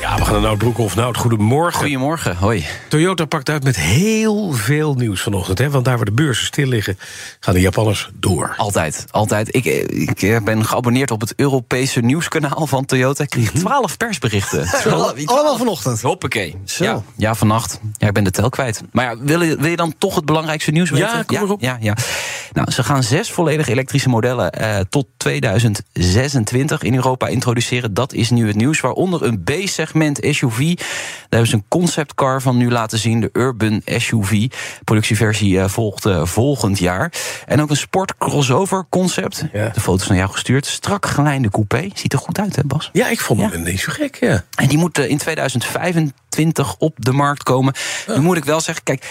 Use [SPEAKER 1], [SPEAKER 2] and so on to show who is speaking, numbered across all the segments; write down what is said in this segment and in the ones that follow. [SPEAKER 1] Ja, Ah, we gaan naar Nout Broekhoff. Nout, goedemorgen.
[SPEAKER 2] Goedemorgen, hoi.
[SPEAKER 1] Toyota pakt uit met heel veel nieuws vanochtend. Hè? Want daar waar de beurzen stil liggen, gaan de Japanners door.
[SPEAKER 2] Altijd, altijd. Ik, ik eh, ben geabonneerd op het Europese nieuwskanaal van Toyota. Ik kreeg twaalf persberichten. Twaalf.
[SPEAKER 1] Allemaal vanochtend.
[SPEAKER 2] Oh, Hoppakee.
[SPEAKER 1] Zo.
[SPEAKER 2] Ja, ja, vannacht. Ja, ik ben de tel kwijt. Maar ja, wil, je, wil je dan toch het belangrijkste nieuws weten?
[SPEAKER 1] kom maar op.
[SPEAKER 2] Ja, ja. Nou, ze gaan zes volledig elektrische modellen eh, tot 2026 in Europa introduceren. Dat is nu het nieuws. Waaronder een B-segment SUV. Daar hebben ze een conceptcar van nu laten zien. De Urban SUV. Productieversie eh, volgt eh, volgend jaar. En ook een sport crossover concept.
[SPEAKER 1] Ja.
[SPEAKER 2] De foto's naar jou gestuurd. Strak gelijnde coupé. Ziet er goed uit, hè, Bas?
[SPEAKER 1] Ja, ik vond hem niet zo gek. Ja.
[SPEAKER 2] En die moet eh, in 2025 op de markt komen. Nu moet ik wel zeggen, kijk,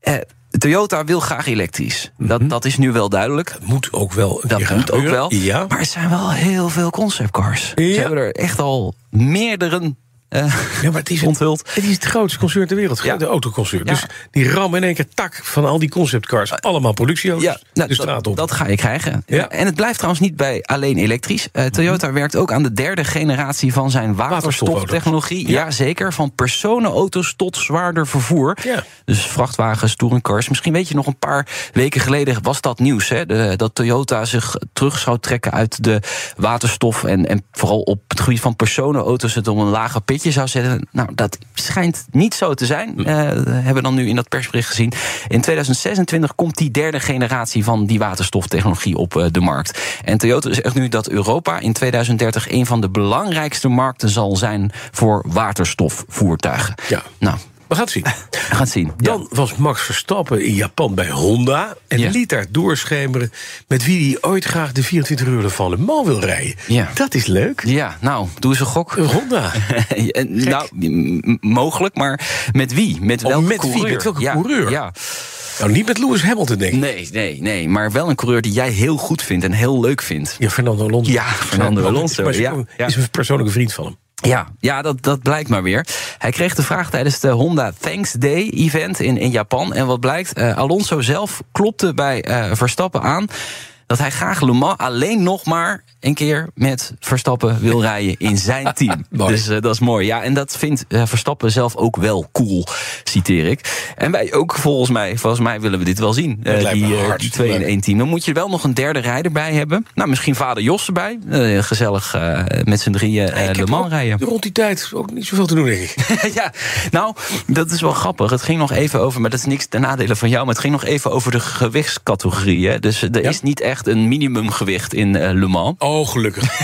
[SPEAKER 2] eh, Toyota wil graag elektrisch. Dat, dat is nu wel duidelijk.
[SPEAKER 1] Moet ook wel. een
[SPEAKER 2] Dat
[SPEAKER 1] keer gaan
[SPEAKER 2] moet ook
[SPEAKER 1] gebeuren.
[SPEAKER 2] wel.
[SPEAKER 1] Mhm. Ja.
[SPEAKER 2] Maar er zijn wel heel veel conceptcars. Ze
[SPEAKER 1] Ja.
[SPEAKER 2] hebben er echt al meerdere eh
[SPEAKER 1] Ja, maar het is, het,
[SPEAKER 2] onthuld.
[SPEAKER 1] het is het grootste concern ter wereld,
[SPEAKER 2] Ja.
[SPEAKER 1] de autoconcern.
[SPEAKER 2] Ja. Ah.
[SPEAKER 1] Dus die rammen in één keer tak van al die conceptcars. Allemaal productieauto's
[SPEAKER 2] Ja, nou,
[SPEAKER 1] de
[SPEAKER 2] dat-
[SPEAKER 1] straat op.
[SPEAKER 2] dat, ga je krijgen.
[SPEAKER 1] Ja. Mhm.
[SPEAKER 2] En het blijft trouwens niet bij alleen elektrisch. Eh, Toyota werkt ook aan de derde generatie van zijn waterstoftechnologie.
[SPEAKER 1] Ja.
[SPEAKER 2] Ja. Jazeker, van personenauto's tot zwaarder vervoer.
[SPEAKER 1] Ja.
[SPEAKER 2] Dus vrachtwagens, touringcars. Misschien weet je nog een paar weken geleden was dat nieuws. Hè? De- dat Toyota zich terug zou trekken uit de waterstof. En, en vooral op het gebied van personenauto's het om een lager pitje zou zetten. Nou, dat schijnt niet zo te zijn. Eh, hebben we dan nu in dat persbericht gezien. In 2026 komt die derde generatie van die waterstoftechnologie op eh, de markt. En Toyota zegt nu dat Europa in 2030 een van de belangrijkste markten zal zijn voor waterstofvoertuigen.
[SPEAKER 1] Ja.
[SPEAKER 2] Nou,
[SPEAKER 1] We gaan het zien.
[SPEAKER 2] we gaan het zien. Ja.
[SPEAKER 1] Dan was Max Verstappen in Japan bij Honda. En
[SPEAKER 2] Ja.
[SPEAKER 1] liet daar doorschemeren met wie hij ooit graag de 24 uur van Le Mans wil rijden.
[SPEAKER 2] Ja.
[SPEAKER 1] Dat is leuk.
[SPEAKER 2] Ja, nou, doe eens een gok.
[SPEAKER 1] Een Honda.
[SPEAKER 2] Eh, nou, m- mogelijk, maar met wie? Met
[SPEAKER 1] Oh,
[SPEAKER 2] welke
[SPEAKER 1] met wie?
[SPEAKER 2] coureur?
[SPEAKER 1] Met welke
[SPEAKER 2] ja,
[SPEAKER 1] coureur?
[SPEAKER 2] Ja.
[SPEAKER 1] nou, niet met Lewis Hamilton, denk ik.
[SPEAKER 2] Nee, nee, nee. Maar wel een coureur die jij heel goed vindt en heel leuk vindt.
[SPEAKER 1] Ja, Fernando Alonso.
[SPEAKER 2] Ja, Fernando Alonso,
[SPEAKER 1] Maar
[SPEAKER 2] ja, ja.
[SPEAKER 1] Is een persoonlijke vriend van hem.
[SPEAKER 2] Ja, ja dat, dat blijkt maar weer. Hij kreeg de vraag tijdens de Honda Thanks Day event in, in Japan. En wat blijkt, eh, Alonso zelf klopte bij eh, Verstappen aan... dat hij graag Le Mans alleen nog maar een keer met Verstappen wil rijden in zijn team.
[SPEAKER 1] Mooi.
[SPEAKER 2] Dus eh, dat is mooi. Ja, en dat vindt eh, Verstappen zelf ook wel cool, citeer ik. En wij ook volgens mij, volgens mij willen we dit wel zien. Eh,
[SPEAKER 1] lijkt me
[SPEAKER 2] die, eh, die
[SPEAKER 1] hartstikke
[SPEAKER 2] twee in
[SPEAKER 1] leuk.
[SPEAKER 2] één team. Dan moet je wel nog een derde rijder bij hebben. Nou, misschien vader Jos erbij. Eh, gezellig eh, met z'n drieën eh,
[SPEAKER 1] Ik
[SPEAKER 2] Le
[SPEAKER 1] heb
[SPEAKER 2] Mans
[SPEAKER 1] ook
[SPEAKER 2] rijden.
[SPEAKER 1] Rond die tijd ook niet zoveel te doen, denk ik.
[SPEAKER 2] ja, nou, dat is wel grappig. Het ging nog even over, maar dat is niks ten nadele van jou... maar het ging nog even over de gewichtscategorie. Hè? Dus er is niet echt een minimumgewicht in eh, Le Mans.
[SPEAKER 1] Oh, gelukkig.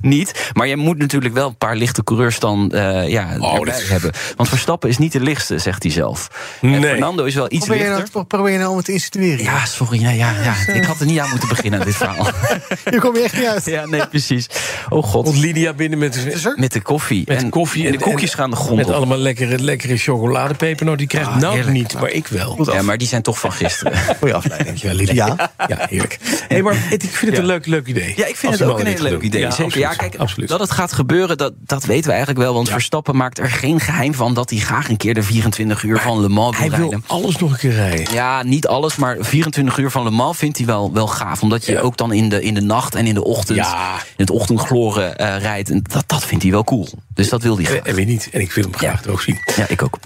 [SPEAKER 2] Niet. Maar je moet natuurlijk wel een paar lichte coureurs dan eh, ja,
[SPEAKER 1] Oh,
[SPEAKER 2] erbij
[SPEAKER 1] dat-
[SPEAKER 2] hebben. Want Verstappen is niet de lichtste, zegt hij zelf. En
[SPEAKER 1] Nee.
[SPEAKER 2] Fernando is wel iets
[SPEAKER 3] Probeer je,
[SPEAKER 2] lichter.
[SPEAKER 3] nou, probeer je nou om het te institueren.
[SPEAKER 2] Ja, sorry. Nee, ja, ja. Ik had er niet aan moeten beginnen aan dit verhaal.
[SPEAKER 3] Hier kom je echt niet uit.
[SPEAKER 2] ja, nee, precies. Oh god.
[SPEAKER 1] Komt Lydia binnen met,
[SPEAKER 3] Dus er?
[SPEAKER 2] Met de koffie.
[SPEAKER 1] met
[SPEAKER 2] en,
[SPEAKER 1] koffie.
[SPEAKER 2] en de koekjes gaan de grond
[SPEAKER 1] Met
[SPEAKER 2] op.
[SPEAKER 1] allemaal lekkere, lekkere chocoladepeper. Nou, die krijgt
[SPEAKER 2] Ah,
[SPEAKER 1] nou
[SPEAKER 2] heerlijk.
[SPEAKER 1] niet, maar ik wel.
[SPEAKER 2] Ja, maar die zijn toch van gisteren.
[SPEAKER 3] Goeie afleiding.
[SPEAKER 1] Dankjewel, Lydia. Ja, ja heerlijk. Hey, maar het- ik vind het
[SPEAKER 2] Ja.
[SPEAKER 1] een leuk, leuk idee.
[SPEAKER 2] Ja, ik vind
[SPEAKER 1] Als
[SPEAKER 2] het
[SPEAKER 1] de
[SPEAKER 2] ook
[SPEAKER 1] mannen
[SPEAKER 2] een heel
[SPEAKER 1] dit
[SPEAKER 2] leuk
[SPEAKER 1] gaan doen.
[SPEAKER 2] idee. Zeker.
[SPEAKER 1] absoluut.
[SPEAKER 2] ja, kijk,
[SPEAKER 1] absoluut.
[SPEAKER 2] dat het gaat gebeuren, dat, dat weten we eigenlijk wel. Want Verstappen maakt er geen geheim van dat hij graag een keer de 24 uur van Le Mans wil
[SPEAKER 1] Hij wil
[SPEAKER 2] rijden.
[SPEAKER 1] alles nog een keer rijden.
[SPEAKER 2] Ja, niet alles, maar 24 uur van Le Mans vindt hij wel, wel gaaf. Omdat je
[SPEAKER 1] Ja.
[SPEAKER 2] ook dan in de, in de nacht en in de ochtend,
[SPEAKER 1] Ja.
[SPEAKER 2] in het ochtendgloren eh, rijdt. En dat, dat vindt hij wel cool. Dus dat wil hij
[SPEAKER 1] Eh, En,
[SPEAKER 2] graag.
[SPEAKER 1] en weer niet. En ik wil hem graag
[SPEAKER 2] Ja.
[SPEAKER 1] er ook zien.
[SPEAKER 2] Ja, ik ook.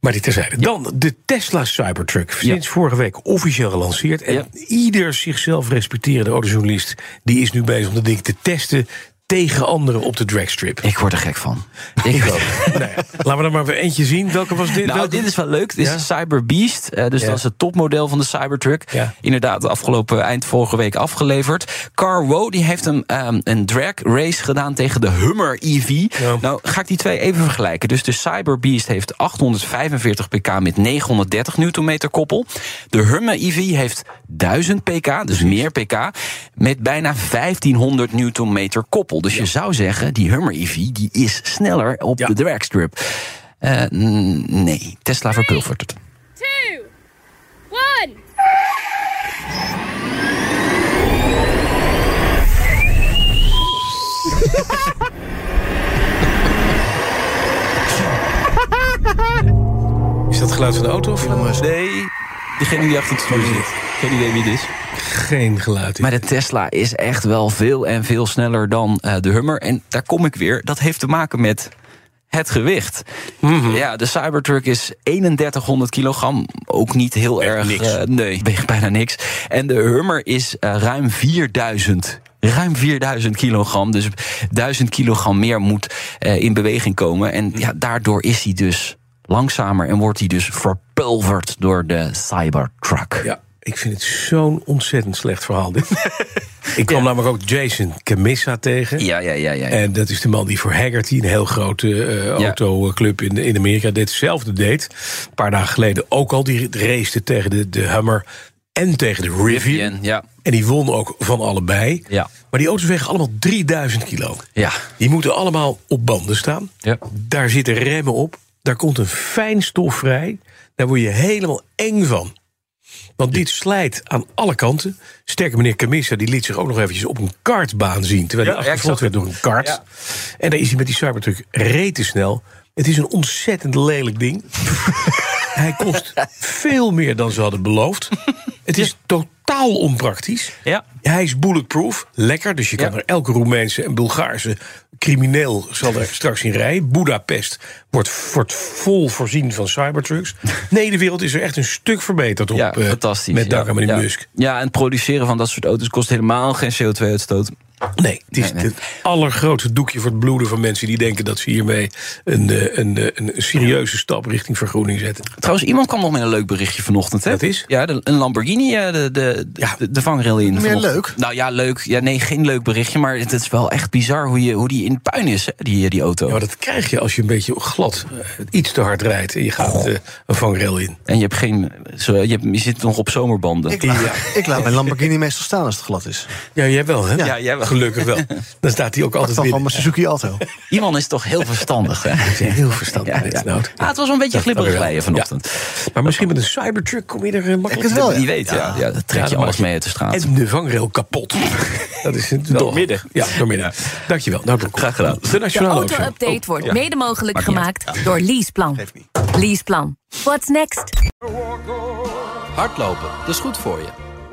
[SPEAKER 1] Maar dit terzijde. Dan de Tesla Cybertruck. Sinds vorige week officieel gelanceerd. En
[SPEAKER 2] Ja.
[SPEAKER 1] ieder zichzelf respecterende autojournalist... die is nu bezig om dat ding te testen tegen anderen op de dragstrip.
[SPEAKER 2] Ik word er gek van. Ik ook.
[SPEAKER 1] nou ja, laten we er maar weer eentje zien. Welke was dit?
[SPEAKER 2] Nou,
[SPEAKER 1] Welke-
[SPEAKER 2] dit is wel leuk. Dit is
[SPEAKER 1] Ja?
[SPEAKER 2] de Cyber Beast. eh, dus
[SPEAKER 1] Ja.
[SPEAKER 2] dat is het topmodel van de Cybertruck.
[SPEAKER 1] Ja.
[SPEAKER 2] Inderdaad, afgelopen eind vorige week afgeleverd. Car Wow, die heeft een, ehm, een drag race gedaan tegen de Hummer EV. Nou, ga ik die twee even vergelijken. Dus de Cyber Beast heeft 845 pk met 930 newtonmeter koppel. De Hummer EV heeft 1000 pk, dus meer pk, met bijna 1500 newtonmeter koppel. Dus je zou zeggen, die Hummer EV die is sneller op
[SPEAKER 1] Ja.
[SPEAKER 2] de dragstrip. Eh, n- nee, Tesla verpulvert het.
[SPEAKER 4] two, one.
[SPEAKER 1] geluid van de auto? Of?
[SPEAKER 2] Nee, degene die achter het stuur zit. Geen idee wie het is.
[SPEAKER 1] Geen geluid.
[SPEAKER 2] Maar de Tesla is echt wel veel en veel sneller dan eh, de Hummer. En daar kom ik weer. Dat heeft te maken met het gewicht.
[SPEAKER 1] Mhm.
[SPEAKER 2] Ja, de Cybertruck is 3100 kilogram. Ook niet heel
[SPEAKER 1] Echt
[SPEAKER 2] erg.
[SPEAKER 1] niks.
[SPEAKER 2] eh, nee, weegt bijna niks. En de Hummer is eh, ruim 4000. Ruim 4000 kilogram. Dus 1000 kilogram meer moet eh, in beweging komen. En ja, daardoor is hij dus langzamer en wordt hij dus verpulverd door de Cybertruck.
[SPEAKER 1] Ja, ik vind het zo'n ontzettend slecht verhaal. Dit. ik kwam namelijk ook Jason Camissa tegen.
[SPEAKER 2] Ja, ja, ja, ja. ja.
[SPEAKER 1] En dat is de man die voor Haggerty, een heel grote eh autoclub in, in Amerika, ditzelfde deed. Een paar dagen geleden ook al. Die race tegen de, de Hummer en tegen de Rivian.
[SPEAKER 2] ja.
[SPEAKER 1] En die won ook van allebei.
[SPEAKER 2] Ja.
[SPEAKER 1] Maar die auto's wegen allemaal 3000 kilo.
[SPEAKER 2] Ja.
[SPEAKER 1] Die moeten allemaal op banden staan.
[SPEAKER 2] Ja.
[SPEAKER 1] Daar zitten remmen op. Daar komt een fijn stof vrij. Daar word je helemaal eng van. Want dit slijt aan alle kanten. Sterker meneer Camissa, die liet zich ook nog eventjes op een kartbaan zien. Terwijl
[SPEAKER 2] Ja,
[SPEAKER 1] hij
[SPEAKER 2] ja, ik
[SPEAKER 1] achtervolgd
[SPEAKER 2] zag
[SPEAKER 1] werd door een kart.
[SPEAKER 2] Ja.
[SPEAKER 1] En daar is hij met die Cybertruck rete snel. Het is een ontzettend lelijk ding. hij kost veel meer dan ze hadden beloofd. Het is totaal onpraktisch.
[SPEAKER 2] Ja.
[SPEAKER 1] Hij is bulletproof, lekker. Dus je kan
[SPEAKER 2] Ja.
[SPEAKER 1] er elke Roemeense en Bulgaarse crimineel zal er straks in rijden. Budapest wordt, wordt vol voorzien van cybertrucks. Nee, de wereld is er echt een stuk verbeterd op.
[SPEAKER 2] Ja,
[SPEAKER 1] eh,
[SPEAKER 2] fantastisch.
[SPEAKER 1] Met dank
[SPEAKER 2] ja,
[SPEAKER 1] aan meneer
[SPEAKER 2] ja.
[SPEAKER 1] Musk.
[SPEAKER 2] Ja, en het produceren van dat soort auto's kost helemaal geen CO2-uitstoot.
[SPEAKER 1] Nee, het is
[SPEAKER 2] Nee, nee.
[SPEAKER 1] het allergrootste doekje voor het bloeden van mensen die denken dat ze hiermee een, eh, een, eh, een serieuze stap richting vergroening zetten.
[SPEAKER 2] Trouwens, iemand kwam nog met een leuk berichtje vanochtend. Hè?
[SPEAKER 1] Dat is?
[SPEAKER 2] Ja, de- een Lamborghini eh, de, de, de, de vangrail in.
[SPEAKER 3] Meer
[SPEAKER 2] vanochtend.
[SPEAKER 3] leuk?
[SPEAKER 2] Nou ja, leuk. Ja, nee, geen leuk berichtje. Maar het is wel echt bizar hoe, je, hoe die in het puin is, hè, die, die auto.
[SPEAKER 1] Ja, maar dat krijg je als je een beetje glad eh, iets te hard rijdt en je gaat eh, een vangrail in.
[SPEAKER 2] En je, hebt geen, zo, je, hebt, je zit nog op zomerbanden.
[SPEAKER 3] Ik, ik laat mijn Lamborghini meestal staan als het glad is.
[SPEAKER 1] Ja, jij wel, hè?
[SPEAKER 2] Ja, jij wel.
[SPEAKER 1] Gelukkig wel. Dan staat hij ook
[SPEAKER 3] Pak
[SPEAKER 1] altijd
[SPEAKER 3] dan
[SPEAKER 1] binnen.
[SPEAKER 3] gewoon mijn Suzuki Alto.
[SPEAKER 2] Iemand is toch heel verstandig. Hè?
[SPEAKER 1] Heel verstandig.
[SPEAKER 2] Ja,
[SPEAKER 1] dit, nou
[SPEAKER 2] ja.
[SPEAKER 1] Nout.
[SPEAKER 2] Ah, het was wel een beetje
[SPEAKER 1] Dat
[SPEAKER 2] glibberig
[SPEAKER 1] wel.
[SPEAKER 2] rijden vanochtend.
[SPEAKER 1] Maar misschien met een cybertruck kom je er eh, makkelijk
[SPEAKER 3] het wel,
[SPEAKER 1] bij.
[SPEAKER 3] ja.
[SPEAKER 2] Wie weet, ja. ja, dat trek
[SPEAKER 1] Ja, dat
[SPEAKER 2] je alles
[SPEAKER 1] mag je.
[SPEAKER 2] mee uit de straat.
[SPEAKER 1] En de vangrail kapot. Dat is het wel.
[SPEAKER 2] Doormidden.
[SPEAKER 1] Ja, doormidden. Dankjewel. Nou, Broek.
[SPEAKER 2] Graag gedaan.
[SPEAKER 1] De
[SPEAKER 5] De
[SPEAKER 1] Nationale Auto.
[SPEAKER 5] auto-update wordt mede mogelijk
[SPEAKER 2] oh, Maakt niet
[SPEAKER 5] gemaakt door Leaseplan. Leaseplan. What's next?
[SPEAKER 4] Hardlopen, dat is goed voor je.